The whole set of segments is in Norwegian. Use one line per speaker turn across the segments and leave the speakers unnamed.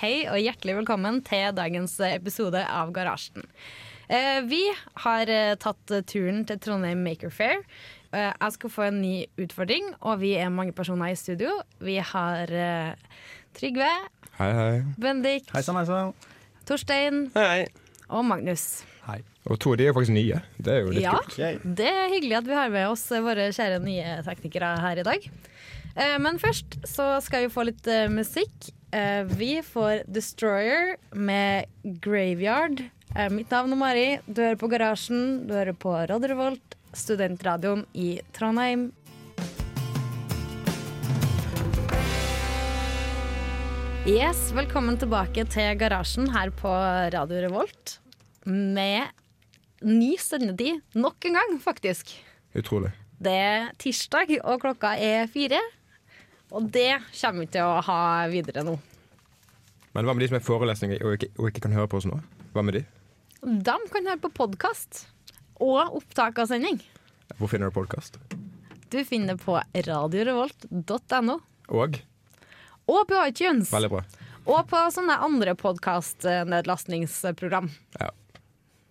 hei og hjertelig velkommen til dagens episode av Garasjen. Eh, Vi har eh, tatt turen til Trondheim Maker Fair. Eh, Jeg skal få en ny utfordring, og vi er mange personer i studio. Vi har eh, Trygve,
Hei, hei.
Bendik,
Hei sann, hei sann.
Torstein
Hei.
og Magnus.
Hei.
Og to av de er faktisk nye. Det er jo litt
Ja,
kult.
det er hyggelig at vi har med oss våre kjære nye teknikere her i dag. Eh, Men først så skal vi få litt eh, musikk. Eh, Vi får Destroyer med Graveyard. Eh, Mitt navn er Mari. Du hører på Garasjen. Du hører på Radio Revolt, studentradioen i Trondheim. Yes, velkommen tilbake til Garasjen her på Radio Revolt med ny sendetid nok en gang, faktisk.
Utrolig.
Det er tirsdag, og klokka er fire. Og det kommer vi til å ha videre nå.
Men hva med de som er forelesninger og ikke, og ikke kan høre på oss nå? Hva med de?
De kan høre på podkast og opptak av sending.
Hvor finner du podkast?
Du finner det på radiorevolt.no.
Og
Og på iTunes.
Veldig bra.
Og på sånne andre podkastnedlastningsprogram.
Ja.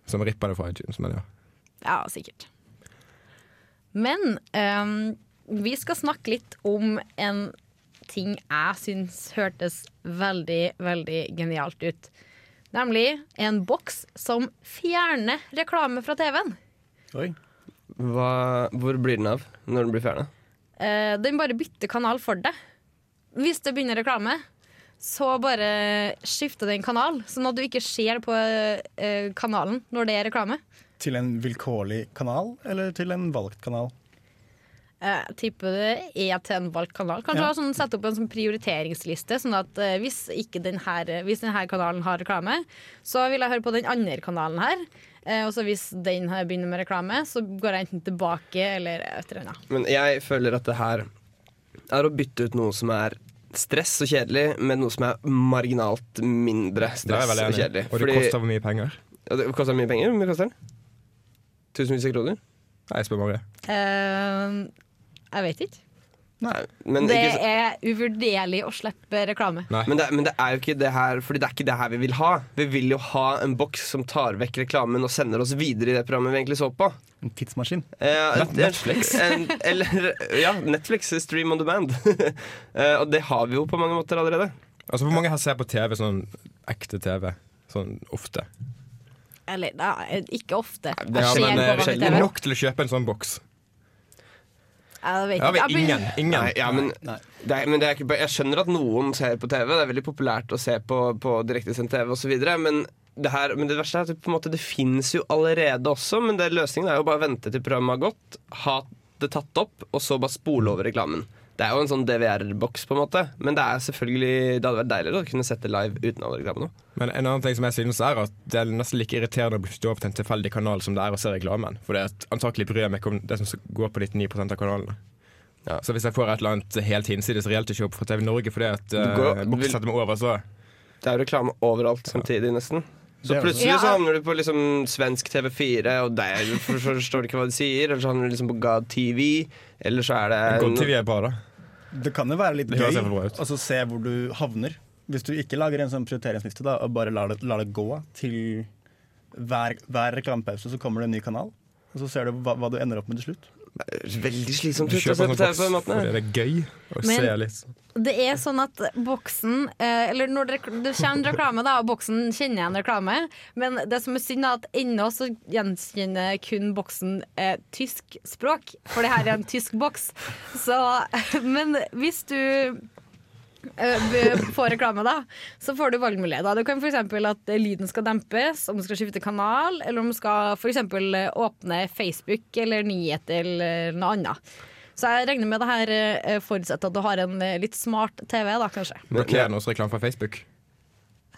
Som ripper det fra iTunes, men ja.
Ja, sikkert. Men ehm, vi skal snakke litt om en ting jeg syns hørtes veldig, veldig genialt ut. Nemlig en boks som fjerner reklame fra TV-en.
Oi.
Hva, hvor blir den av når den blir fjerna?
Eh, den bare bytter kanal for deg. Hvis det begynner reklame, så bare skifter den kanal, sånn at du ikke ser på eh, kanalen når det er reklame.
Til en vilkårlig kanal, eller til en valgt kanal?
Eh, Jeg tipper det er til en valgt kanal. Kanskje
Ja.
ha sånn, sette opp en sånn prioriteringsliste. Sånn at eh, hvis, ikke den her, eh, hvis denne kanalen har reklame, så vil jeg høre på den andre kanalen her. Eh, og så hvis den her begynner med reklame, så går jeg enten tilbake eller et eller annet.
Men jeg føler at det her er å bytte ut noe som er stress og kjedelig, med noe som er marginalt mindre
Det er jeg
stress
veldig
og
enig i.
kjedelig.
Og det koster hvor mye penger?
Ja, det koster mye penger. Hvor mye koster den? Tusenvis av kroner?
Nei, jeg spør Marie.
Eh, jeg vet ikke.
Nei. Men,
Det
ikke,
er uvurderlig å slippe reklame.
Nei.
så- men, det, men det er jo ikke det her Fordi det er ikke det her vi vil ha. Vi vil jo ha en boks som tar vekk reklamen og sender oss videre i det programmet vi egentlig så på.
En tidsmaskin.
Eh, en-
Netflix.
En, eller, ja, Netflix. Stream on demand. Eh, og det har vi jo på mange måter allerede.
Altså, Hvor mange her ser på TV sånn ekte TV? Sånn ofte.
Eller nei, ikke ofte.
det er
Jeg ser
sjelden,
på
eh,
vanlig
sjelden.
TV.
nok til å kjøpe en sånn boks.
Jeg vet
Ja,
ikke.
vi,
Jeg begynner-
ingen. ingen.
Nei, ja, men,
Nei.
det er, men det er ikke, jeg skjønner at noen ser på TV. Det er veldig populært å se på, på direktesendt TV osv. Men, det her- men det verste er at det, på en måte, det fins jo allerede også. Men det, løsningen er jo bare å vente til programmet har gått, ha det tatt opp, og så bare spole over reklamen. Det er jo en sånn DVR-boks, på en måte. Men det er selvfølgelig Det hadde vært deiligere å kunne sett det live uten all reklamen òg.
Men en annen ting som jeg synes er at det er nesten like irriterende å bli stå på en tilfeldig kanal som det er å se reklamen. For det er antakelig bryr jeg meg ikke om det som går på 99 av kanalene.
Ja.
Så hvis jeg får et eller annet helt hinsides realityshow fra TV Norge fordi at
Du går-
uh,
du vil-
setter meg over, så
Det er jo reklame overalt samtidig, nesten. Så
Det er
plutselig
det.
så
Ja.
havner du på liksom svensk TV4, og der for- for- forstår du ikke hva de sier. Eller så havner du liksom på God TV, eller så er det
God TV er bra, da.
Det kan jo være litt
Det
gøy
høres i hvert fall bra ut.
å så se hvor du havner. Hvis du ikke lager en sånn prioriteringsliste da, og bare lar det, lar det gå til hver, hver reklamepause, så kommer det en ny kanal. Og så ser du hva, hva du ender opp med til slutt.
Veldig slitsomt
Du
ut å se
kjøper en
på
sånn
TV på
boks
den måten.
fordi
her.
det er gøy å
Men-
se litt.
Det er sånn at boksen eh, Eller når det, det kommer reklame, da, og boksen kjenner igjen reklame. Men det som er synd, er at ennå så gjenkjenner kun boksen eh, tysk språk. For det her er en tysk boks. Så Men hvis du eh, b- får reklame, da, så får du valgmulighet. Da. Du kan f.eks. at eh, lyden skal dempes, om du skal skifte kanal, eller om du skal for eksempel eh, åpne Facebook eller nyheter eller noe annet. Så jeg regner med det her eh, forutsetter at du har en eh, litt smart TV, da, kanskje.
Blokkere oss reklame fra Facebook.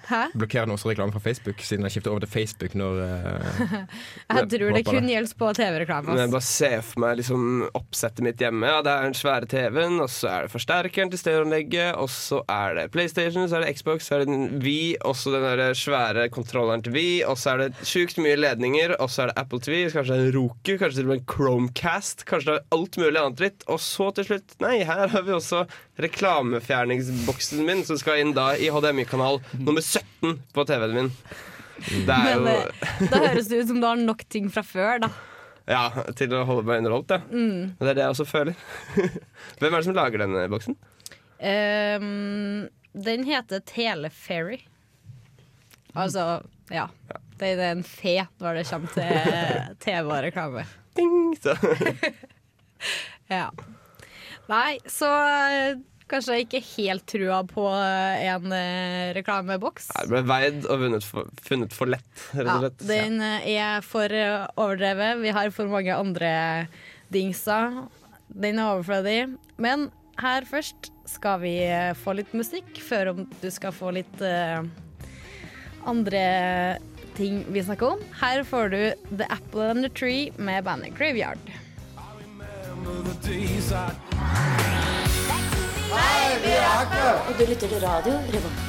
Hæ?
Blokkere den også reklame fra Facebook, siden jeg skiftet over til Facebook når eh,
Jeg tror det
håper
kun
det.
gjelder på TV-reklame. ass.
Men jeg bare ser for meg liksom oppsettet mitt hjemme. Ja, Det er den svære TV-en, og så er det forsterkeren til stereoanlegget, og så er det PlayStation, så er det Xbox, så er det den Wii, og så den der svære kontrolleren til Wii, og så er det sjukt mye ledninger, og så er det Apple TV, så kanskje det er en Roku, kanskje til og med en Chromecast, kanskje det er alt mulig annet dritt. Og så til slutt, nei, her har vi også reklamefjerningsboksen min, som skal inn da i HDMI-kanal nummer 17 på TV-en min. Det er
Men
jo
eh, da høres det ut som du har nok ting fra før, da.
Ja, til å holde meg underholdt, ja.
Mm.
Og det er det jeg også føler. Hvem er det som lager denne boksen?
Ehm, den heter Teleferry. Altså, ja. Det det er en fe når det kommer til TV og reklame.
Ding! Så.
Ja. Nei, så eh, kanskje jeg ikke helt trua på eh, en eh, reklameboks.
Her ble veid og vunnet for, funnet for lett, rett
Ja,
og slett.
den eh, er for eh, overdrevet. Vi har for mange andre dingser. Den er overflødig. Men her først skal vi eh, få litt musikk, før om du skal få litt eh, andre ting vi snakker om. Her får du The Apple and the Tree med bandet Graveyard.
Og du lytter til radio Revolt.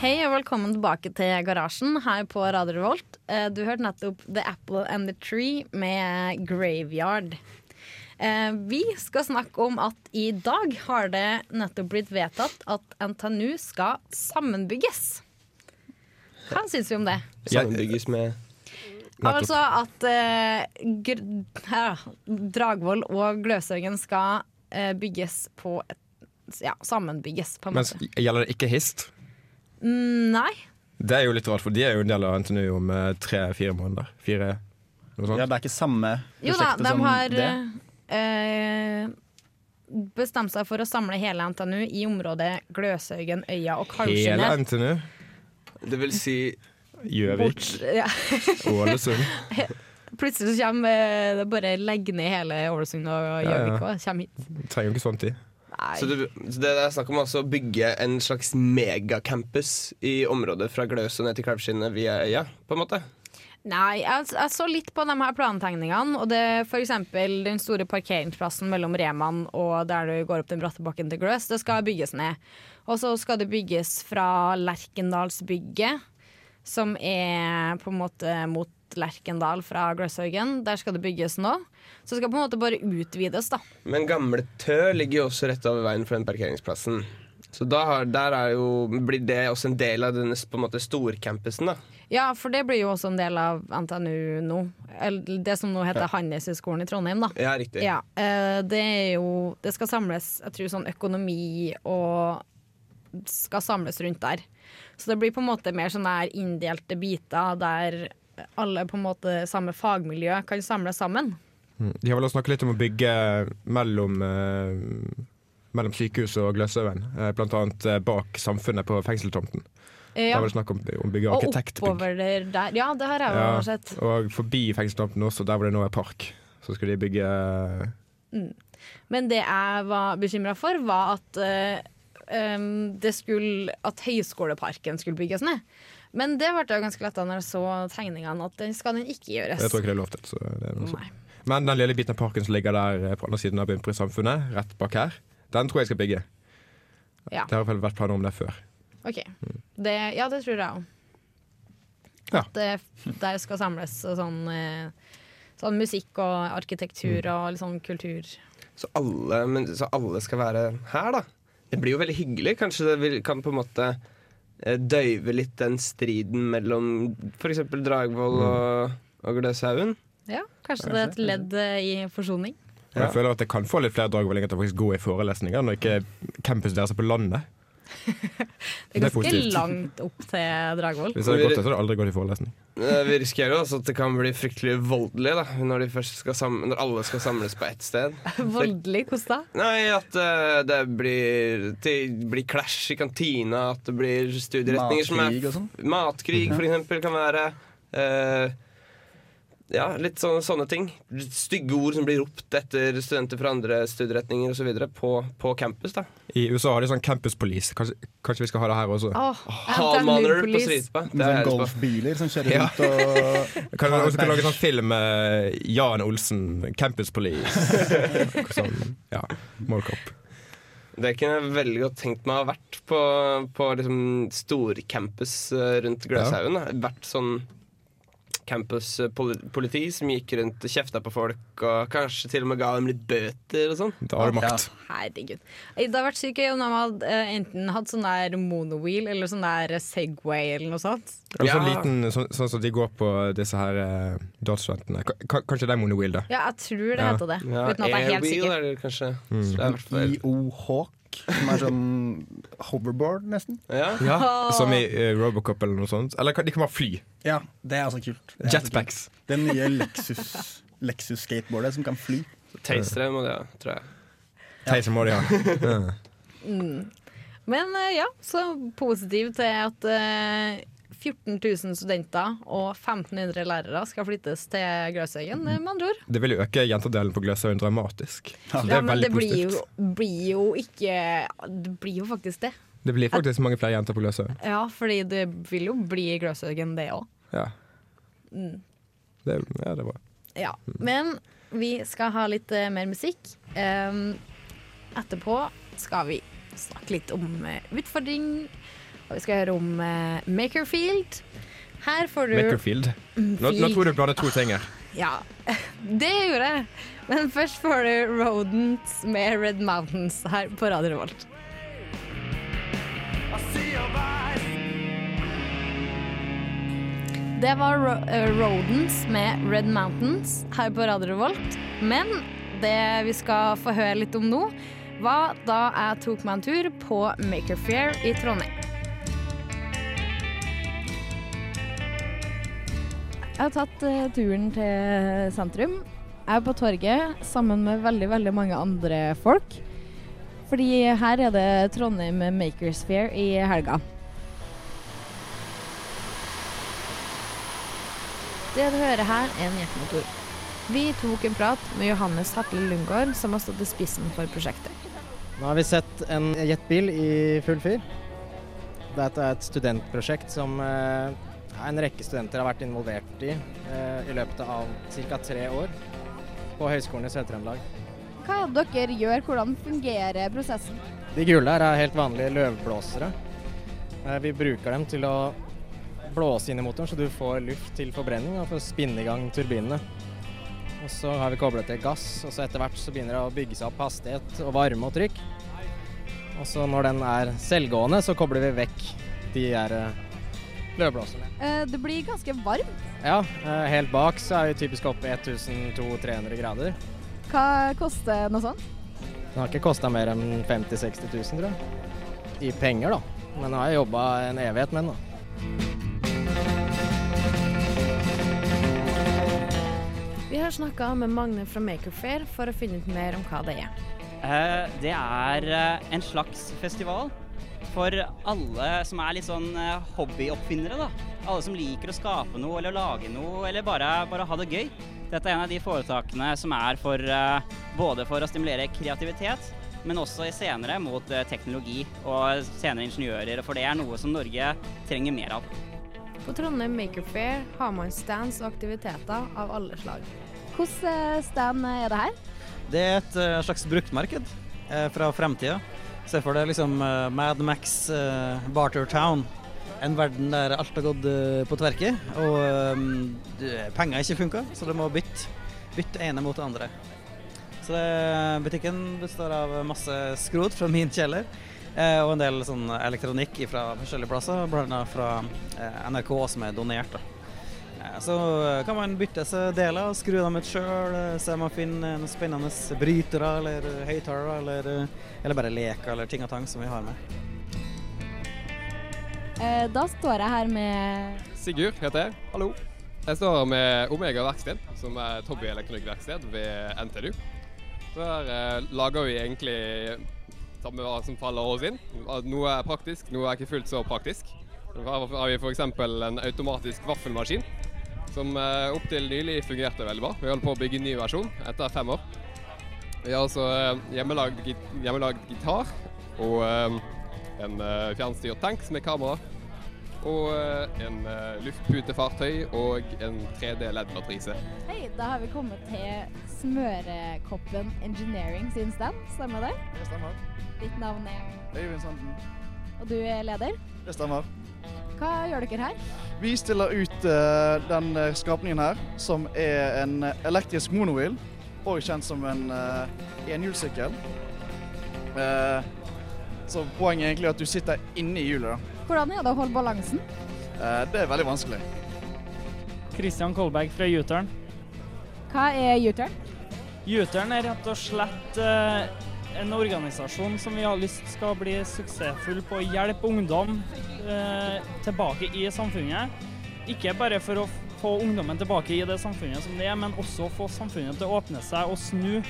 Hei og velkommen tilbake til garasjen her på Radio Revolt. Eh, Du hørte nettopp The Apple and the Tree med Graveyard. Eh, Vi skal snakke om at i dag har det nettopp blitt vedtatt at NTNU skal sammenbygges. Hva syns vi om det?
Sammenbygges med
Nettopp.
Altså at eh, gr ja, Dragvoll og Gløshaugen skal eh, bygges på et Ja, sammenbygges, på en
Mens
måte.
gjelder det ikke HIST?
Nei.
Det er jo litt rart, for de er jo en del av NTNU om tre-fire måneder. Fire, noe sånt.
Ja, det er ikke samme
Jo da,
prosjektet
de
som
har
det.
eh, bestemt seg for å samle hele NTNU i området Gløshaugen, Øya og
Hele
Kalvskinnet.
NTNU.
Det vil si
Gjøvik,
Bort- Ja.
Ålesund.
Plutselig så kommer eh, det bare legge ned hele Ålesund og
ja.
Gjøvik og kommer hit.
Trenger jo ikke sånn tid.
Nei.
Så det, så det er snakk om altså å bygge en slags megacampus i området fra Gløs og ned til Kalvskinnet via øya, på en måte?
Nei, jeg, jeg så litt på de her plantegningene, og det er for eksempel den store parkeringsplassen mellom Reman og der du går opp den bratte bakken til Gløs, det skal bygges ned. Og så skal det bygges fra Lerkendalsbygget, som er på en måte mot Lerkendal fra Gløshaugen. Der skal det bygges nå. Så det skal på en måte bare utvides, da.
Men Gamle Tø ligger jo også rett over veien for den parkeringsplassen. Så da har, der er jo, blir det også en del av denne på en måte storcampusen, da.
Ja, for det blir jo også en del av NTNU nå. Eller det som nå heter Handelshøyskolen i Trondheim, da.
Ja, riktig.
Ja, eh, det er jo Det skal samles, jeg tror sånn økonomi og skal samles rundt der. Så det blir på en måte mer sånn der inndelte biter der alle på en måte samme fagmiljø kan samles sammen. Mm.
De har vel også snakket litt om å bygge mellom, eh, mellom sykehuset og Gløshaugen. eh, Blant annet eh, bak Samfunnet på fengseltomten.
Eh,
Det
Ja.
er vel snakk om å bygge
Og
arkitektbygg.
oppover der. der. Ja, det har jeg jo
Ja,
sett.
og forbi fengseltomten også, der hvor det nå er park. Så skal de bygge eh,
Men det jeg var bekymra for, var at eh, em, det skulle At Høyskoleparken skulle bygges ned. Men det ble jeg ganske letta når jeg så tegningene, at den skal den ikke gjøres.
Jeg tror ikke det er lov til. Så det er noe sånt.
Nei.
Men den lille biten av parken som ligger der eh, på andre siden av Bimper i Samfunnet, rett bak her, den tror jeg skal bygge.
Ja.
Det har i hvert fall vært planer om det før.
Ok, det, Ja, det tror jeg òg.
Ja.
At det, der skal samles og sånn, eh, sånn musikk og arkitektur og litt sånn kultur.
Så alle, men, så alle skal være her, da. Det blir jo veldig hyggelig. Kanskje det vil, kan på en måte eh, døyve litt den striden mellom f.eks. Dragvoll og, og Gløshaugen.
Ja, Kanskje det er et ledd eh, i forsoning.
Og jeg føler at jeg kan få litt flere dragvollinger til å faktisk gå i forelesninger når ikke campus deres er på landet.
Det er
Det er
ganske
positivt.
langt opp til Dragvoll.
Hvis jeg hadde gått der, så hadde jeg aldri gått i forelesning.
Eh, Vi risikerer jo også at det kan bli fryktelig voldelig da, når, de først skal sam- når alle skal samles på ett sted.
Voldelig, hvordan da?
Nei, at eh, det blir Det blir clash i kantina, at det blir studieretninger som er
Matkrig og sånn.
Matkrig, for eksempel, kan være. eh, ja, litt sånne, sånne ting. Litt Stygge ord som blir ropt etter studenter fra andre studieretninger osv. På, på campus. da
I USA har de sånn campus police. Kanskje, kanskje vi skal ha det her også?
Åh,
Hallmanner på
police.
stripa.
Med
Det
sånne
er jeg lyst på.
sånn golfbiler som kjører rundt og
Kan vi også kan lage en sånn film med Jan Olsen, Campus Police. Sånn, ja, målkopp.
Det kunne jeg veldig godt tenkt meg å ha vært på, på liksom storcampus eh, rundt Gløshaugen. da. Vært sånn campus-politi som gikk rundt og kjefta på folk og kanskje til og med ga dem litt bøter og sånn.
Da har du makt.
Herregud. Det hadde vært sykt gøy om de hadde eh, enten hatt sånn der monowheel eller sånn der Segway eller noe sånt.
Eller sånn
Ja.
liten, sånn, sånn som de går på disse her eh, datastudentene. Ka- ka- Kanskje det er monowheel, da.
Ja, jeg tror det
Ja.
heter det.
Ja,
uten at jeg er helt
Airwheel
sikker.
er det kanskje. Så det er Mm. i hvert fall-
IO Hawk, som er sånn hoverboard, nesten.
Ja.
Som i eh, Robocop eller noe sånt. Eller kan- de kan bare fly.
Ja, det er altså kult. Det er altså kult.
Jetpacks.
Det nye Lexus, Lexus skateboardet som kan fly.
Taster må det, ha, tror jeg.
Teiser må de ha.
Men eh, ja, så positiv til at eh, 14 000 studenter og 1500 lærere skal flyttes til Gløshaugen, eh, med andre ord.
Det vil jo øke jentedelen på Gløshaugen dramatisk. Så det
Ja,
er
men
veldig
det blir jo,
positivt.
blir jo ikke Det blir jo faktisk det.
Det blir faktisk mange flere jenter på Gløshaugen.
Ja, fordi det vil jo bli Gløshaugen, det òg.
Ja. Det, ja, det er bra.
Ja, men vi skal ha litt eh, mer musikk. Ehm, etterpå skal vi snakke litt om eh, utfordring, og vi skal høre om eh, Makerfield. Her får du
Makerfield. Nå, nå tror jeg du blander to ting her.
Ja, det gjorde jeg. Men først får du Rodents med Red Mountains her på Radio Revolt. Det var Ro eh, Rodents med Red Mountains her på Radio Revolt. Men det vi skal få høre litt om nå, var da jeg tok meg en tur på Maker Fair i Trondheim. Jeg har tatt eh, turen til sentrum. Jeg er på torget sammen med veldig, veldig mange andre folk. Fordi her er det Trondheim Makers Fair i helga. Det du hører her, er en jetmotor. Vi tok en prat med Johannes Hatle Lundgaard, som har stått i spissen for prosjektet.
Nå har vi sett en jetbil i full fyr. Dette er et studentprosjekt som eh, ja, en rekke studenter har vært involvert i eh, i løpet av ca. tre år på Høgskolen i Sør-Trøndelag.
Hva er det dere gjør? Hvordan fungerer prosessen?
De gule her er helt vanlige løvblåsere. Eh, Vi bruker dem til å blåse inn i motoren, så du får luft til forbrenning og får spinne i gang turbinene. Og så har vi koblet til gass, og så etter hvert så begynner det å bygge seg opp hastighet og varme og trykk. Og så når den er selvgående, så kobler vi vekk de her eh, løvblåserne.
Eh, Det blir ganske varmt.
Ja, eh, helt bak så er vi typisk oppe i 1200-300 grader.
Hva koster noe sånt?
Den har ikke kosta mer enn 50 000-60 000, tror jeg. I penger, da. Men nå har jeg jobba en evighet med den. da.
Vi har snakka med Magne fra Makerfair for å finne ut mer om hva det er.
Eh, Det er eh, en slags festival for alle som er litt sånn eh, hobbyoppfinnere, da. Alle som liker å skape noe eller lage noe, eller bare, bare ha det gøy. Dette er en av de foretakene som er for eh, både for å stimulere kreativitet, men også i senere mot eh, teknologi og senere ingeniører, for det er noe som Norge trenger mer av.
På Trondheim Makerfair har man stands og aktiviteter av alle slag.
Hvilken stand er det her?
Det er et eh, slags bruktmarked eh, fra fremtida. Se for deg liksom eh, Mad Max, eh, Barter Town. En verden der alt har gått eh, på tverke, og eh, du- penger ikke funka, så du må bytte. Bytte ene mot det andre. Så det, butikken består av masse skrot fra min kjeller. eh, Og en del sånn elektronikk fra forskjellige plasser, bl.a. fra eh, NRK som er donert. da. Eh, Så kan man bytte seg deler, skru dem ut sjøl, se om man finner noen spennende brytere eller eh, høyttalere, eller, eller bare leker eller ting og tang som vi har med.
Eh, Da står jeg her med
Sigurd heter jeg. Hallo. Jeg står her med Omega Verksted, som er et hobbyelektronikkverksted ved NTNU. Så her eh, lager vi egentlig samme hva som faller oss inn. Noe er praktisk, noe er ikke fullt så praktisk. Her har vi f.eks. en automatisk vaffelmaskin som eh, opp til nylig fungerte veldig bra. Vi holder på å bygge en ny versjon etter fem år. Vi har altså eh, hjemmelagd, git hjemmelagd gitar og eh, en eh, fjernstyrt tank som er kamera. Og eh, en eh, luftputefartøy og en 3D LED-matrise.
Hei, da har vi kommet til Smørekoppen Engineering sin stand, stemmer det?
Det stemmer.
Ditt navn er
Øyvind Sanden.
Og du er leder?
sånn- Det stemmer.
Hva gjør dere her?
Vi stiller ut eh, den eh, skapningen her, som er en elektrisk monowheel, og kjent som en eh, enhjulssykkel. Eh, så poenget er egentlig at du sitter inne i hjulet. da.
Hvordan er det å holde balansen?
Eh, det er veldig vanskelig.
Kristian Kolberg fra U-turn.
Hva er U-turn?
U-turn er rett og slett eh, en organisasjon som vi har lyst skal bli suksessfull på å hjelpe ungdom eh, tilbake i samfunnet. Ikke bare for å f- få ungdommen tilbake i det samfunnet som det er, men også få samfunnet til å åpne seg og snu,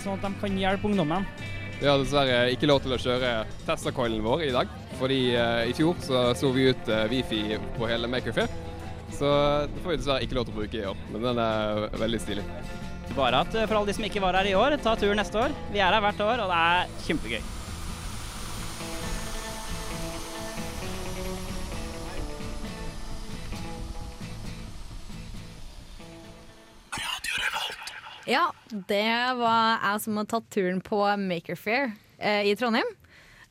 sånn at de kan hjelpe ungdommen.
Vi har dessverre ikke lov til å kjøre Tesla-coilen vår i dag, fordi eh, i fjor så slo vi ut eh, wifi på hele Makerfair. Så det får vi dessverre ikke lov til å bruke i år, men den er eh, veldig stilig.
Bare at eh, for alle de som ikke var her i år, ta tur neste år. Vi er her hvert år, og det er kjempegøy.
Ja, det var jeg som har tatt turen på Makerfair eh, i Trondheim.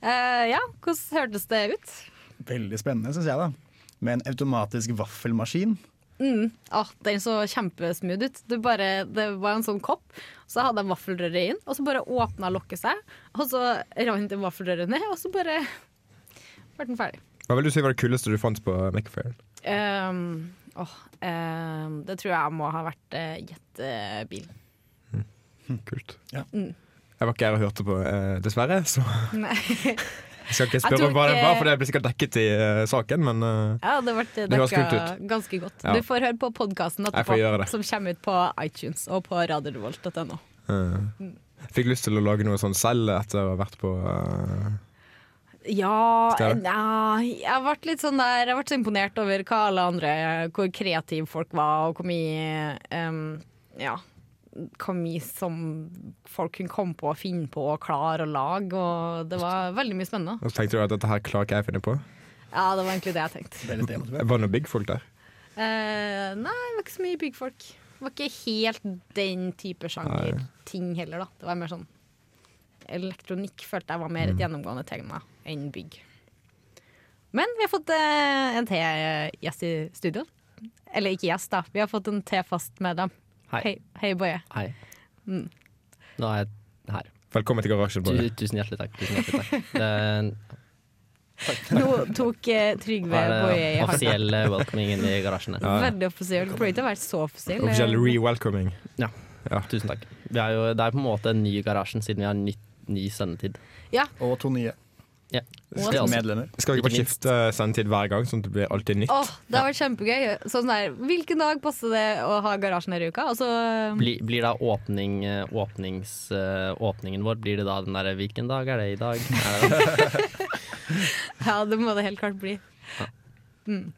Eh, ja, hvordan hørtes det ut?
Veldig spennende, syns jeg, da. Med en automatisk vaffelmaskin.
Mm. Ah, den så kjempesmooth ut. Det, bare, det var en sånn kopp, så hadde jeg vaffelrøret inn, og så bare åpna lokket seg, og så rant det vaffelrøret ned, og så bare ble den ferdig.
Hva vil du si var det kuleste du fant på eh, Makerfairen?
Ehm, åh, ehm, det tror jeg må ha vært eh, jettebil.
Kult.
Mm.
Jeg var ikke her og hørte på, eh, dessverre, så
Nei.
jeg skal ikke
Jeg
spørre
tror
om hva den var,
ikke-
for det blir sikkert dekket i eh, saken, men eh,
Ja, det ble
Det høres
dekka
kult
ganske godt.
Ja.
Du får høre på podkasten
Jeg får gjøre det.
etterpå, som kommer ut på iTunes og på radiorevolt.no.
eh,
Mm.
jeg fikk lyst til å lage noe sånn selv etter å ha vært på eh,
Ja,
Skal jeg?
nei, jeg ble litt sånn der Jeg ble så imponert over hva alle andre Hvor kreative folk var, og hvor mye em, Ja, hvor mye som folk kunne komme på og finne på og klare og lage, og det var veldig mye spennende.
Og så tenkte du at dette her klarer ikke jeg å finne på.
Ja, det var egentlig det jeg tenkte.
Var det noen big folk der?
Eh, nei, det var ikke så mye byggfolk. Det var ikke helt den type sjanger-ting heller, da. Det var mer sånn Elektronikk følte jeg var
Mm.
mer et gjennomgående tema enn bygg. Men vi har fått eh, en til gjest i studio. Eller ikke gjest, da. Vi har fått en til fast medlem.
Hei.
Hei, hei Boje.
Hei.
Mm.
Nå er jeg her.
Velkommen til garasjen, Boje.
Tu, tusen hjertelig takk. Tusen hjertelig takk. Det er en
Nå tok eh, Trygve
er
Boje i
det
hånda.
offisiell welcoming inn i garasjen. her.
Veldig offisiell. Det burde ikke være så offisiell.
Offisiell
Eh,
re-welcoming.
Ja. Tusen takk. Vi er jo, det er på en måte en ny i garasjen siden vi har nytt, ny sendetid.
Ja.
Og to nye.
Ja.
Og
Det er altså- også-
Skal vi ikke
Ikke
bare skifte sendetid hver gang, sånn at det blir alltid nytt?
Åh, det har vært kjempegøy. Sånn der, hvilken dag passer det å ha garasjen her i uka? Og så
Blir, blir da åpning, eh, åpnings, eh, åpningen vår Blir det da den derre 'hvilken dag er det i dag'? Er det det?
Ja, det må det helt klart bli. Mm.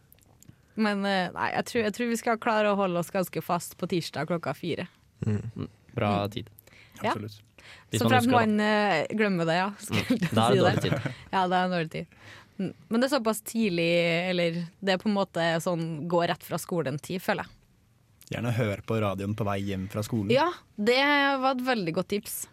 Men eh, nei, jeg tror, jeg tror vi skal klare å holde oss ganske fast på tirsdag klokka fire.
Mm. Bra tid.
Ja.
Absolutt. Hvis
Så
man husker
frem man eh, glemmer det, ja. Skulle
Mm,
jeg
da er det
si
dårlig tid.
Ja, det er en dårlig tid. Mm. Men det er såpass tidlig, eller det er på en måte sånn gå rett fra skolen-tid, føler jeg.
Gjerne høre på radioen på vei hjem fra skolen.
Mm.
Ja, det var et veldig godt tips.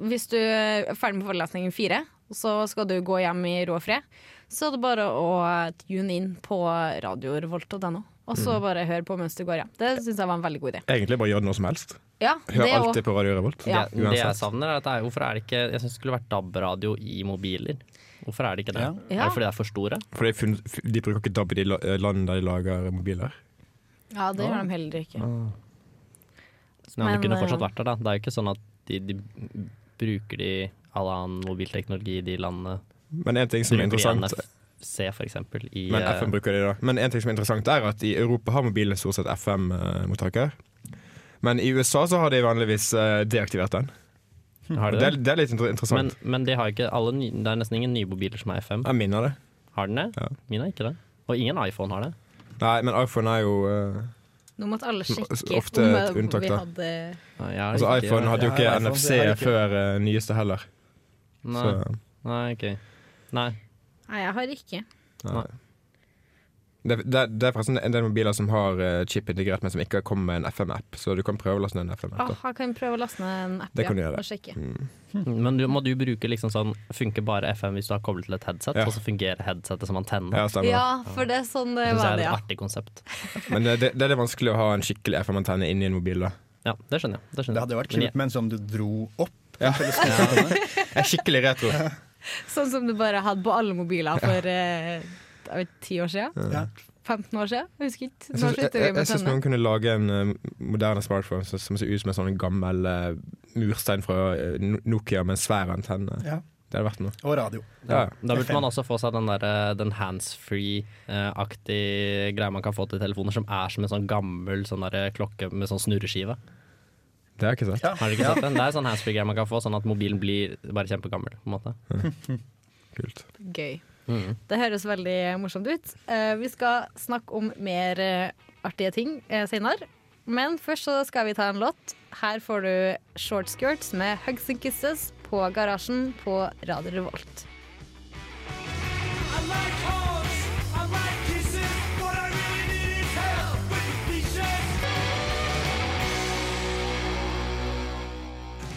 Hvis du er ferdig med forelesningen fire, så skal du gå hjem i ro og fred, så er det bare å tune inn på radiorevolt.no, og så
Mm.
bare høre på mens du går hjem. Det syns jeg var en veldig god idé.
Egentlig bare gjør det når som helst.
Ja,
Hør
det er
alltid
også-
på Radio Revolt.
Ja.
Det, det jeg
Uansett.
savner, er at det er, hvorfor er det ikke Jeg syns det skulle vært DAB-radio i mobiler. Hvorfor er det ikke det?
Ja.
Er det fordi det er for store?
For de, funn- de bruker ikke DAB i de la- eh, landene der de lager mobiler.
Ja, det gjør de heller ikke.
Men,
Men,
det kunne
eh,
fortsatt vært der, da. Det er jo ikke sånn at de, de bruker de all annen mobilteknologi i de landene.
Men en ting som er
Bruker de
interessant-
NFC for eksempel. I,
Men
eh,
FM bruker de da. Men en ting som er interessant er at i Europa har mobilene stort sett FM-mottaker. Men i USA så har de vanligvis eh, deaktivert den.
Har de
det?
det?
er, det er litt inter-
men,
interessant.
men de har jo ikke alle ny, Det er nesten ingen nye mobiler som er FM.
Jeg minner det.
Har den det? Min har ikke det. Og ingen iPhone har det.
Nei, men iPhone er jo eh,
Nå måtte alle sjekke
Ofte
om
et
eh,
unntak,
vi
da.
hadde
altså, iPhone hadde jo ikke
Ja, iPhone,
NFC
det er det ikke.
før eh, nyeste heller.
Nei.
Så,
Nei, OK. Nei.
Nei, jeg har ikke.
nei. Det, det, det er forresten en del mobiler som har eh, chip integrert, men som ikke kommer med en FM-app. Så du kan prøve å laste ned en FM-app.
Åh, jeg kan prøve å laste ned en app
Det kan du
ja,
gjøre. Mm.
og sjekke.
Men du, må du bruke liksom sånn Funker bare FM hvis du har koblet til et headset,
Ja.
og så fungerer headsetet som antenne?
Ja, for det er sånn det
Jeg synes
var
det er
det, ja.
et artig konsept.
Men det, det, det er vanskelig å ha en skikkelig FM-antenne inni en mobil. da
Ja, det skjønner jeg. Det,
Det hadde jo vært kult med en som du dro opp.
Ja. Jeg er skikkelig retro.
Sånn som du bare hadde på alle mobiler for eh, jeg vet, 10 år siden?
Ja.
15 år siden? Jeg husker ikke.
Jeg
Nå
syns- jeg-
slutter vi
jeg- jeg
med
syns
tenne.
noen kunne lage en eh, moderne smartphone som, som ser ut som en sånn gammel eh, murstein fra eh, No- Nokia med en svær antenne.
Ja.
Det hadde vært noe.
Og radio.
Ja.
Da burde man også få seg den, der, eh, den handsfree-aktig greia man kan få til telefoner, som er som en sånn gammel sånn der klokke med sånn snurreskive.
Det har jeg ikke sett.
Har du ikke sett den? Det er sånn handsfree-greie man kan få, sånn at mobilen blir bare kjempegammel. på en måte.
Gøy.
Mm.
Det høres veldig morsomt ut. Eh, vi skal snakke om mer eh, artige ting eh, senere. Men først så skal vi ta en låt. Her får du Short Skirts med Hugs and Kisses på Garasjen på Radio Revolt.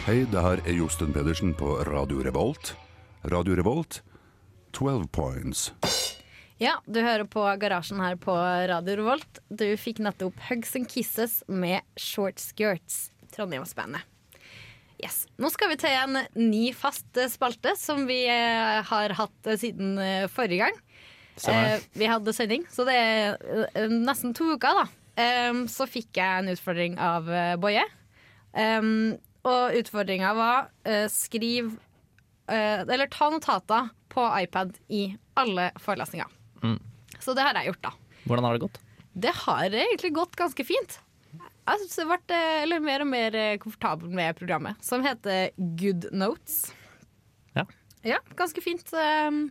Hei, det her er Josten Pedersen på Radio Revolt. Radio Revolt, 12 points.
Ja, du hører på Garasjen her på Radio Revolt. Du fikk nettopp Hugs and Kisses med Short Skirts, Trondheimsbandet. Yes. Nå skal vi til en ny fast eh, spalte som vi eh, har hatt eh, siden eh, forrige gang.
Stemmer.
Eh, vi hadde sending, så det er eh, nesten to uker, da. Em, så fikk jeg en utfordring av eh, Boje. Em, og utfordringa var eh, skriv eh, Eller ta notater på iPad i alle forelesninger.
Mm.
Så det har jeg gjort, da.
Hvordan har det gått?
Det har egentlig gått ganske fint. Jeg synes jeg ble eh, eller, mer og mer eh, komfortabel med programmet, som heter Good Notes.
Ja.
Ja, ganske fint. Um,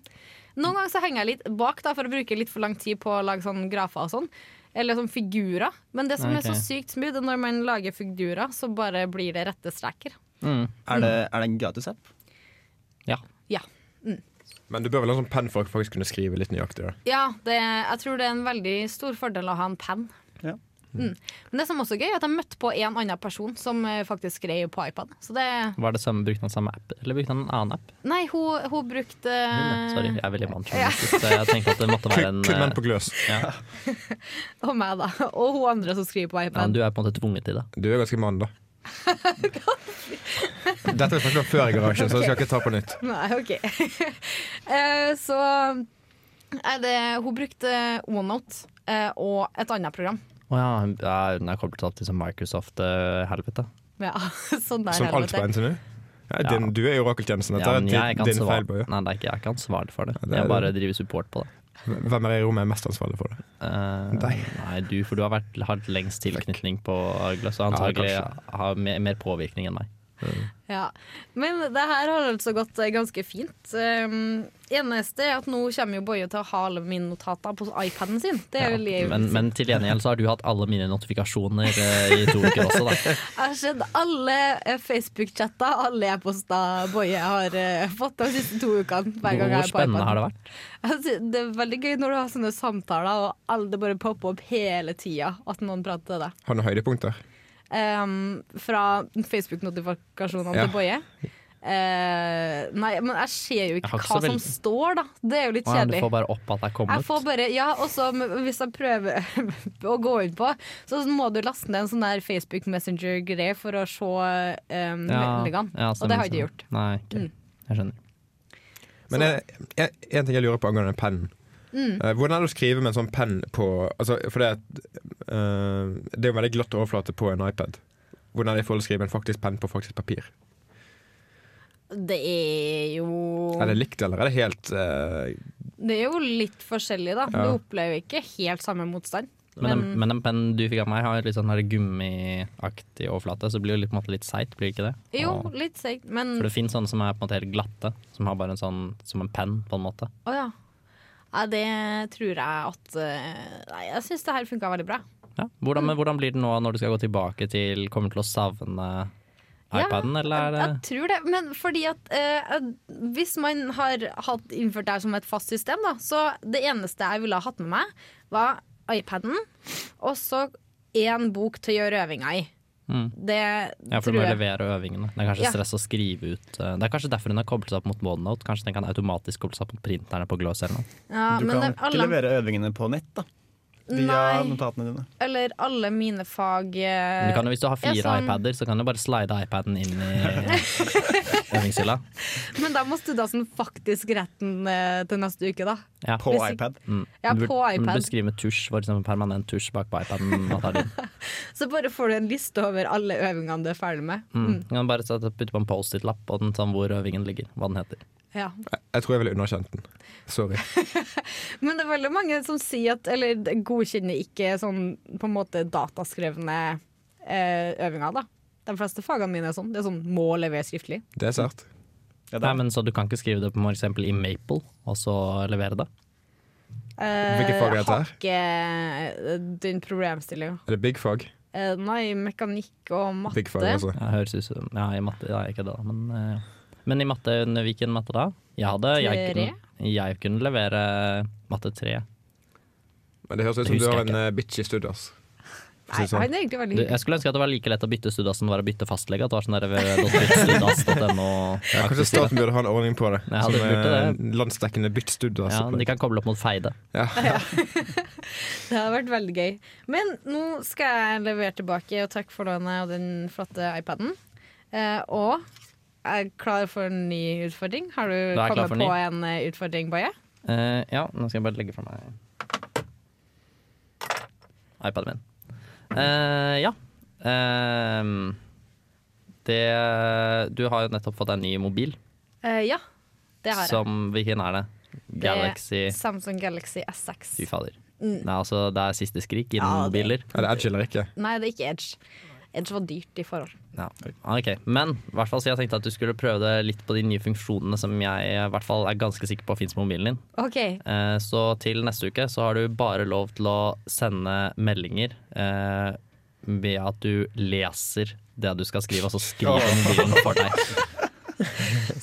Noen ganger så henger jeg litt bak da, for å bruke litt for lang tid på å lage sånn grafer og sånn. Eller sånn figurer. Men det som
Ok.
er så sykt smooth, er når man lager figurer, så bare blir det rette streker.
Er, det, er det en gratis app?
Ja. Mm.
Men du bør vel ha sånn penn for å faktisk kunne skrive litt nøyaktig. Da.
Ja, det, jeg tror det er en veldig stor fordel å ha en penn. Mm. Men det som også er gøy, er at jeg møtte på en annen person som eh, faktisk skrev på iPad. Så det
Var det samme, Brukte han samme app, eller brukte han en annen app?
Nei, hun, hun brukte
Hun, Sorry, jeg er veldig
Eh, Ja.
mannsjournalist, så jeg tenkte at det måtte være en
Kun menn
eh,
på gløs.
Ja.
Og meg, da. Og hun andre som skriver på
Ja, men
iPad.
du er på en måte tvunget til det.
Du er ganske mann, da. Dette har vi snakket om før i garasjen, så jeg skal ikke ta på nytt.
Nei, OK. Eh, så er det Hun brukte OneNote eh, og et annet program.
Å ja, hun- ja, hun er koblet opp til sånn eh, Microsoft-helvete.
Ja, sånn der,
Som alt på
helvete.
NTNU. Ja, din, du er jo orakeltjenesten. Dette
Ja, men jeg er
er
ikke
din, din
ansvar-
feil, Bøye.
Nei, det er ikke, jeg er ikke ansvarlig for det.
det er
jeg bare
det.
driver support på det.
Hvem er i rommet er mest ansvarlig for det?
Eh, nei, du, for du har vært, hatt lengst tilknytning på Gløss, og
Ja,
antagelig
kanskje.
har mer, mer påvirkning enn meg.
Ja. Men det her har altså gått eh, ganske fint. Um, eneste er at nå kommer jo Boje til å ha alle mine notater på iPaden sin. Det er veldig
Men, men til gjengjeld så har du hatt alle mine notifikasjoner eh, i to uker også, da.
Jeg har sett alle eh, Facebook-chatter, alle e-poster Boje har eh, fått de siste to ukene. Hver gang jeg
Hvor
er på iPaden.
spennende har det vært?
Jeg sy- Det er veldig gøy når du har sånne samtaler, og alle det bare popper opp hele tida at noen prater til deg.
Har du høydepunkter?
Ehm, fra Facebook-notifikasjonene
Ja.
til Boje. Eh, nei, men jeg ser jo
Jeg
ikke
har
hva
ikke så
som
veldig-
står, da. Det er jo litt
Å ja, du
kjedelig.
får bare opp at det er
Jeg
kommet.
får bare, ja, og så m- Hvis jeg prøver å gå inn på, så må du laste ned en sånn der Facebook Messenger-greie for å se um, meldingene.
ja,
og det har jeg
stemmer,
ikke gjort.
stemmer. Nei, ok.
Mm.
jeg skjønner.
Men jeg, jeg, en ting jeg lurer på angående pennen.
Mm.
Eh, hvordan er det å skrive med en sånn penn på altså, For det, er et, eh, det er jo en veldig glatt overflate på en iPad. Hvordan er det i forhold til å skrive med en faktisk penn på faktisk papir?
Det er jo
Er det likt, eller er det helt eh,
Det er jo litt forskjellig, da.
Ja.
Du opplever ikke helt samme motstand.
Men,
Men,
den- men den pennen du fikk av meg, har litt sånn her gummiaktig overflate, så det blir jo litt, på en måte litt seigt, blir det ikke det?
jo,
Og-
litt seigt. Men
For det finnes sånne som er på en måte helt glatte, som har bare en sånn som en penn, på en måte.
å ja. Nei, det tror jeg at eh, Nei, jeg syns det her funka veldig bra.
Ja. Hvordan, men hvordan blir det nå når du skal gå tilbake til Kommer til å savne iPaden, eller er det
Jeg tror det, men fordi at eh, at hvis man har hatt innført det her som et fast system, da, så det eneste jeg ville ha hatt med meg, var iPaden og så én bok til å gjøre øvinga i.
mm.
Det
Ja, for du
tror
må
jeg.
levere øvingene. Det er kanskje
Ja.
stress å skrive ut eh, Det er kanskje derfor hun har koblet seg opp mot OneNote. Kanskje den kan automatisk koble seg opp mot printerne på Gloss eller noe.
Ja,
du
men
kan
det- alle-
ikke levere øvingene på nett, da. Via
Nei.
notatene dine.
Eller alle mine fag eh,
Men du kan jo, hvis du har fire iPader,
iPader
så kan du bare slide iPaden inn i øvingshylla.
Men da må studentene faktisk retten eh, til neste uke, da.
Ja.
På Hvis- iPad.
Mm.
Ja,
Du burde-
på
Du
iPad.
burde skrive med tusj, for eksempel permanent tusj bak på iPaden. Og ta det inn.
Så bare får du en liste over alle øvingene du er ferdig med.
Mm. Du kan bare sette- putte på en Post-It-lapp og den sånn hvor øvingen ligger, hva den heter.
Ja.
Jeg tror jeg ville underkjent den. Sorry.
Men det er veldig mange som sier at Eller godkjenner ikke sånn på en måte dataskrevne eh, øvinger, da. De fleste fagene mine er sånn. Det er sånn må levere skriftlig.
Det er sært.
Nei, men Så du kan ikke skrive det på for eksempel i Maple, og så levere det?
Eh,
Hvilke fag er dette her?
Har ikke den problemstillinga.
Er det big fag? altså.
Eh, nei, mekanikk og matte.
Ja, høres ut som Ja, i matte ja, ikke det, da, men eh, ja. Men i matte, under hvilken matte da? Jeg hadde jeg
Tre?
kunne, jeg kunne levere matte tre.
Men det høres ut som du har en eh, bitch i studios.
Nei, han er egentlig veldig
Du,
hyggelig.
Jeg skulle ønske at det var like lett å bytte studas som det var å bytte fastlege. At det var sånn der www.studas.no.
Ja, kanskje staten burde ha en ordning på det.
Ja,
som
det burde
eh,
det.
landsdekkende altså, byttstudier.
Ja, de kan koble opp mot Feide.
Det hadde vært veldig gøy. Men nå skal jeg levere tilbake, og takk for lånet og den flotte iPaden. Eh, og jeg er klar for en ny utfordring. Har du
Da er jeg klar
kommet
for
på
en ny.
en eh, utfordring, Baye?
Eh, ja, nå skal jeg bare legge fra meg iPaden min. Eh, ja. Ehm, det Du har jo nettopp fått deg en ny mobil.
Eh, ja, det har jeg.
Som Hvilken er det?
Det er
Galaxy
Samsung Galaxy S6.
Fy fader.
Mm.
Nei, altså, det er siste skrik innen
Ja, det-
mobiler. Er det Edge eller ikke?
Nei, det er ikke Edge. Edge var dyrt i forhold.
Ja, ok. Men i hvert fall så jeg tenkte at du skulle prøve det litt på de nye funksjonene som jeg i hvert fall er ganske sikker på fins på mobilen din.
OK.
Eh, Så til neste uke så har du bare lov til å sende meldinger eh, ved at du leser det du skal skrive, altså skriver mobilen for deg.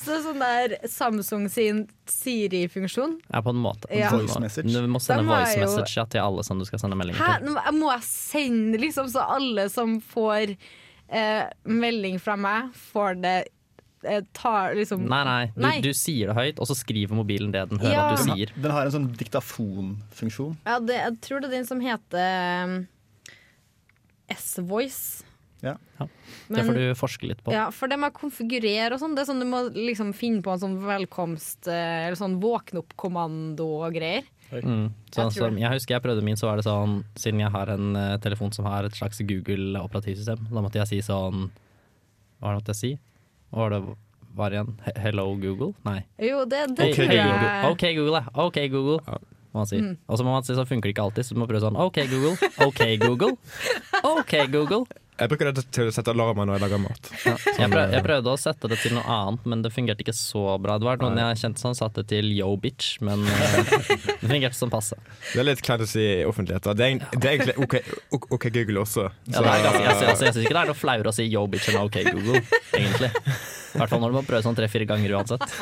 Så sånn der Samsung sin Siri-funksjon.
Ja, på en måte.
Ja. Voice
message. Du må
Da
sende
må
voice
jeg jo-
message ja, til alle som du skal sende meldinger
Hæ?
til.
Nå må jeg sende liksom så alle som får eh, melding fra meg, får det eh, tar, liksom
Nei, nei. Du, du sier det høyt, og så skriver mobilen det den hører
Ja.
at du
Den har-
sier.
Den har en sånn diktafonfunksjon.
Ja, det, jeg tror det er den som heter um, S-Voice.
Ja.
det
Men-
får du forske litt på.
Ja, for det med å konfigurere og sånn, det er sånn du må liksom finne på en sånn velkomst eh, Eller sånn våkne opp-kommando og greier.
Mm. Sånn,
Jeg tror
som,
det.
jeg husker jeg prøvde min, så var det sånn Siden jeg har en eh, telefon som har et slags Google-operativsystem, da måtte jeg si sånn Hva var det måtte jeg si? Hva var det var igjen? He- Hello, Google? Nei.
Jo, det, det
Hey,
tror jeg
Google. OK, Google. ja. OK, Google. Må man si.
Mm.
Og så må man si så funker det ikke alltid, så du må prøve sånn OK, Google. OK, Google. OK, Google.
Jeg bruker det til å sette alarmer når jeg lager mat.
Jeg,
sånn
prøv, jeg prøvde å sette det til noe annet, men det fungerte ikke så bra. Det var noen jeg kjente som satte det til yo, bitch, men eh, det fungerte som passe.
Det er litt kleint å si i offentlighet. da. Det er, egent- det er egentlig OK, ok- ok Google også.
Ja, det er ganske, jeg sy- altså, jeg syns ikke det er noe flauere å si yo bitch enn ok Google, egentlig. I hvert fall når du må prøve sånn tre-fire ganger uansett.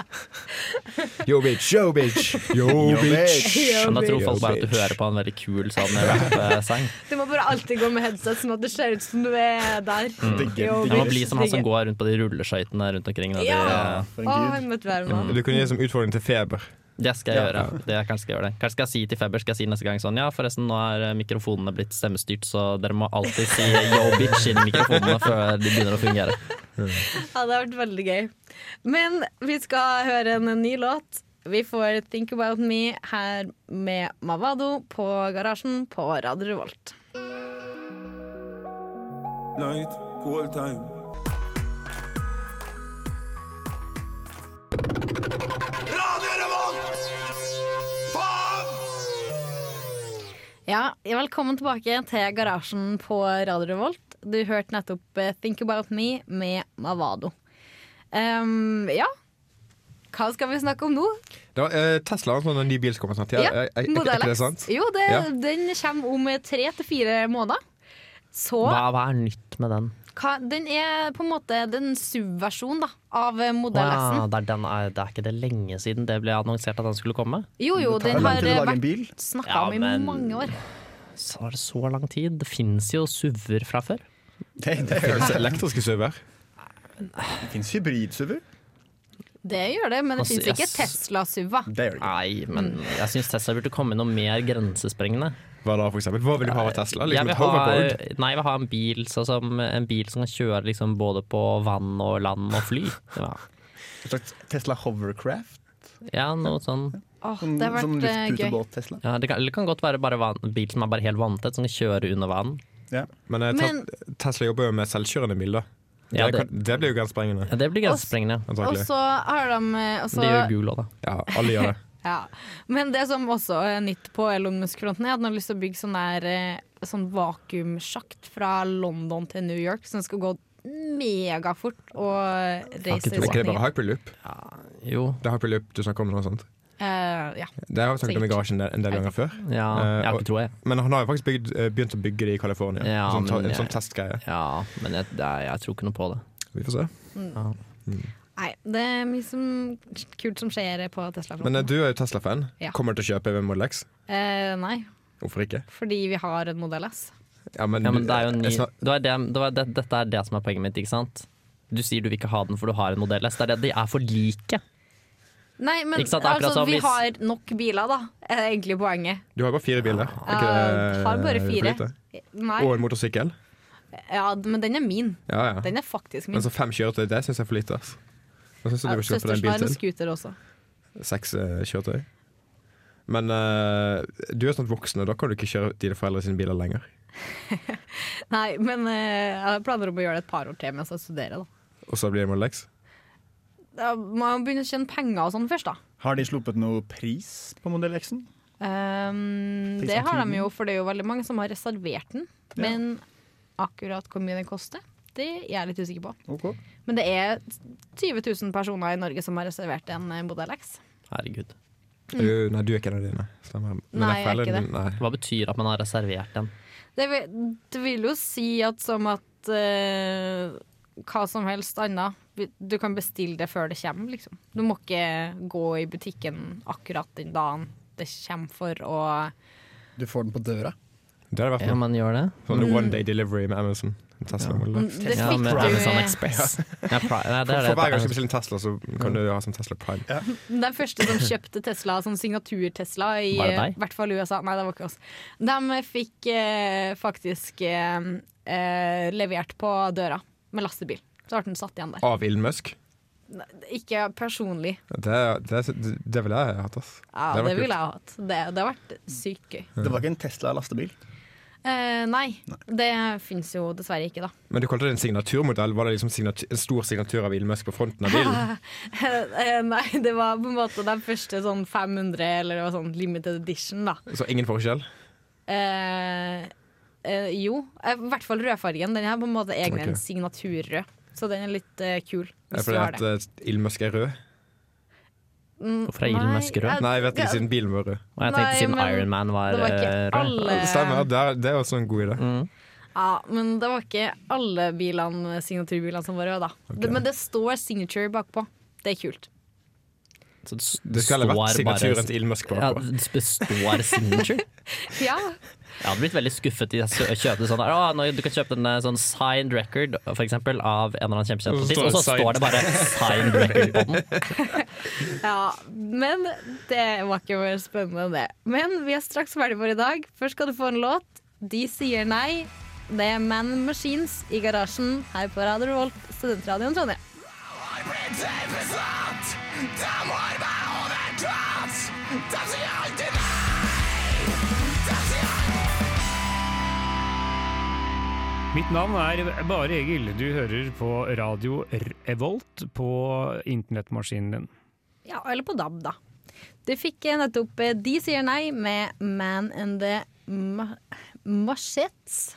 Yo bitch, yo bitch, yo
Yo,
bitch.
Yo,
Men da tror
bitch.
folk bare at du hører på en veldig kul sånn rap-sang.
Du må bare alltid gå med headset, sånn at det ser ut som du er der.
Mm. Det
Jo,
må bli
bitch.
som han som
Digger.
går rundt på de rulleskøytene rundt omkring. da, de-
Ja.
eh,
Å, jeg møtte verden.
Du kunne gi som utfordring til feber.
Det skal jeg
Ja.
gjøre. Det kanskje skal jeg gjøre det. Kanskje skal jeg si til Feber skal jeg si neste gang sånn Ja, forresten, nå er eh, mikrofonene blitt stemmestyrt, så dere må alltid si yo bitch inn i mikrofonene før de begynner å fungere.
Ja, det har vært veldig gøy. Men vi skal høre en ny låt. Vi får Think About Me her med Mavado på Garasjen på Radio Revolt.
Night, cool time.
Ja, velkommen tilbake til Garasjen på Radio Revolt. Du hørte nettopp eh, Think About Me med Mavado. Ehm, ja. Hva skal vi snakke om nå?
Da, eh, Tesla har en sånn ny bil som kommer snart. Ja, er- er- er- er
Modell
ikke det
X.
eh, sant?
Jo, det,
Ja.
den kommer om tre til fire måneder. Så
Hva, hva er nytt med den?
hva, den er på en måte den subversjonen da, av
Å
modell
ja,
S-en.
det, er den, er, det er ikke det lenge siden det ble annonsert at den skulle komme?
Jo, jo, den har eh, vært snakka
Ja,
om i
men-
mange år.
Så er det så lang tid. Det fins jo SUV-er fra før.
Det, det
finnes elektriske SUV-er.
Det fins hybrid-SUV.
Det gjør det, men det
Altså,
fins ikke
yes.
Tesla-SUVA.
Nei, men jeg syns Tesla burde komme med noe mer grensesprengende.
Hva da, for eksempel? Hva vil du ha av Tesla? Liksom
jeg vil
et
ha,
hoverboard?
nei, jeg vil ha en bil, sånn som, en bil som kan kjøre liksom, både på vann og land og fly. Ja,
Et slags Tesla Hovercraft.
ja noe sånn.
Åh, det har vært
sånn
eh, gøy.
luftputebåt-Tesla.
Ja, det, kan, det kan godt være bare van, en bil som er bare helt vanntett, som kan kjøre under vann.
Men, eh,
Men-
te Tesla jobber jo med selvkjørende bil, da. Det,
Ja, det-
kan, det blir jo grensesprengende.
Ja, det blir grensesprengende.
Og
Antakelig.
så har de eh, også,
Gul òg, da.
Ja, alle gjør det.
ja. Men det som også er nytt på Elon Musk-fronten, er at han har lyst til å bygge sånn der eh, sånn vakuumsjakt fra London til New York, som skal gå megafort og
Er
reise i
ikke det bare
retning.
hyperloop?
Jo.
Det er hyperloop du snakker om nå, sant?
Eh, ja.
Det har vi snakket om i
Sikkert.
garasjen en del ganger før.
Ja,
Eh,
jeg har ikke
og-
troa, jeg.
Men han har jo faktisk bygd, eh, begynt å bygge det i California.
Ja,
en sånn, ta-
men eh,
en sånn
jeg-
testgreie.
Ja, men jeg, det er, jeg tror ikke noe på det.
Vi får se.
Mm.
Ja.
Nei, det er mye som, kult som skjer på
Men eh,
Tesla-fronten.
du er jo Tesla-fan.
Ja.
Kommer du til å kjøpe en Model X?
Eh, nei,
Hvorfor ikke?
fordi vi har en modell S.
Ja, men,
Ja, men det er jo
jeg-
ny,
jeg snak-
det var det, det var det, dette er det som er poenget mitt, ikke sant? Du sier du vil ikke ha den for du har en modell S. Det er det, de er for like.
Nei, men
Ikke sant, akkurat
altså,
som
vi
hvis-
har nok biler, da. Er egentlig poenget.
Du har jo bare fire biler.
Ah.
Er ikke
Eh,
det
har bare
for
fire.
lite?
Nei.
Og en motorsykkel.
Ja, men den er min.
Ja, ja.
Den er faktisk min.
Men så fem kjøretøy, det syns jeg er for lite. ass. Hva syns du
Ja,
du vil kjøpe deg en
Søstersen har
bil
en
til?
scooter også.
Seks eh, kjøretøy. Men eh, du er snart voksen, og da kan du ikke kjøre dine foreldre sine biler lenger.
Nei, men eh, jeg har planer om å gjøre det et par år til mens jeg studerer, da.
Og så blir det Model X.
Da må jeg jo begynne å tjene penger og sånn først, da.
Har de sluppet noe pris på modell X-en?
Ehm,
Pris
det
av
har
tiden.
de jo, for det er jo veldig mange som har reservert den.
Ja.
Men akkurat hvor mye den koster, det er jeg litt usikker på.
Ok.
Men det er 20 000 personer i Norge som har reservert en eh, modell X.
Herregud.
Du- Nei, du er ikke en av dine. Stemmer. Men
Mm. Nei, jeg er
foreldrene
ikke det.
dine- nei.
Hva betyr at man har reservert den?
Det vil, det vil jo si at som at eh, hva som helst annet vi- Du kan bestille det før det kommer, liksom. Du må ikke gå i butikken akkurat den dagen det kommer for å
Du får den på døra.
Det har det vært
Ja, man gjør det.
Sånn
Mm.
one day delivery med Amazon. En Tesla Model X.
Det fikk
men-
du-
Amazon Express. Ja, pri- nei,
Mm,
det
For,
er
for
det.
hver gang du skal bestille en Tesla, så kan du ha som Tesla Prime.
Den første som kjøpte Tesla, sånn signatur-Tesla, i
Var det
eh,
deg?
hvert fall USA Nei, det var ikke oss. De fikk eh, faktisk eh, eh, levert på døra med lastebil. Så ble den satt igjen der.
Av Elon Musk.
Nei, Ikke personlig.
Det, det, det ville jeg hatt, ass.
Ja,
hadde
det,
vært kult.
ville jeg ha hatt. Det, det har vært sykt gøy.
Det var ikke en Tesla lastebil.
Eh, nei, det fins jo dessverre ikke, da.
Men du kalte det en signaturmodell. Var det liksom signatu- en stor signatur av Elon Musk på fronten av bilen?
Eh, nei, det var på en måte den første sånn 500, eller det var sånn limited edition, da.
Så ingen forskjell?
Eh, eh, jo, Eh, i hvert fall rødfargen. Den her på en måte egen
Ok.
en signaturrød, så den er litt eh,
Er
kul.
det
Hvis du
fordi
har
at
det.
eh, Elon Musk er rød?
Mm, eh,
Nei, jeg vet ikke,
ja,
siden bilen var rød.
Og jeg tenkte
Nei,
siden
men
Iron Man var,
det var ikke
eh, rød.
alle- Mm.
Det stemmer, det er, det er også en god idé.
Ja, men det var ikke alle bilene, signaturbilene som var røde, da. Det, men det står signature bakpå. Det er kult.
Så det s-
Det skal ha vært
står bare-
signaturen til Elon Musk bakpå.
Ja, det består signature.
Ja,
Jeg hadde blitt veldig skuffet hvis jeg sø- kjøpte sånn der, «Å, nå, Du kan kjøpe en eh, sånn signed record for eksempel, av en eller annen kjempekjent
Og så
artist,
står
og
det
så står det bare signed record på den.
ja, men det var ikke mer spennende enn det. Men vi er straks ferdig for i dag. Først skal du få en låt. De sier nei. Det er Man Machines i garasjen her på Radio Revolt, studentradioen Trondheim.
Mitt navn er Bare Egil. Du hører på radio Revolt på internettmaskinen din.
Ja, eller på DAB, da. Du fikk eh, nettopp eh, De sier nei med Man and the Ma Machettes.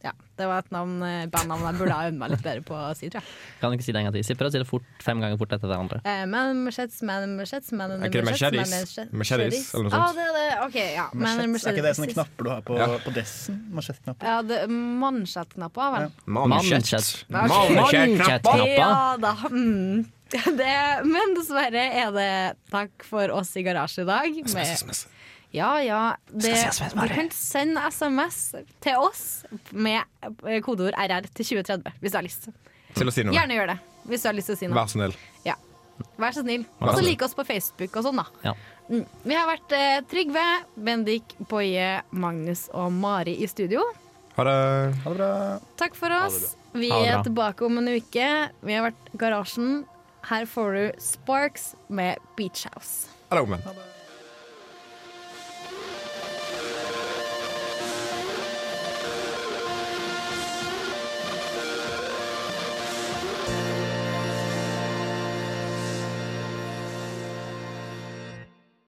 Ja, det var et navn, eh, bandnavn jeg burde ha øvd meg litt bedre på å si, tror jeg.
Kan ikke si det en gang til. Si- Prøv å si det fort, fem ganger fort etter hverandre.
Eh, Man machettes, man in machettes, man in
Er ikke det
machettes, man in
machetes?
machettes.
Machetes, eller noe
Ah,
sånt?
det er det. OK, ja. Man in
Machettes. Er ikke det sånne
machettes.
knapper du har på,
Ja.
på dressen? Mansjettknapper.
Ja, det Mansjettknapper, vel.
Mansjett.
Ja, ok. Ja da. Mm. Det, men dessverre er det takk for oss i garasje i dag. med-
SMS, SMS.
Ja, ja. Det,
Skal si SMS,
du
Mari.
kan sende SMS til oss med eh, kodeord RR til 2030 hvis du har lyst.
Til å si noe.
Gjerne gjør det hvis du har lyst til å si noe.
Vær så snill.
Ja. Vær så snill.
Vær så
Og så
snill.
like oss på Facebook og sånn, da.
Ja.
Mm. Vi har vært eh, Trygve, Bendik, Boje, Magnus og Mari i studio.
Ha det. Ha det bra.
Takk for oss. Vi
Ha det
er
bra.
tilbake om en uke. Vi har vært Garasjen. Her får du Sparks med Beach House.
Ha det, omvendt.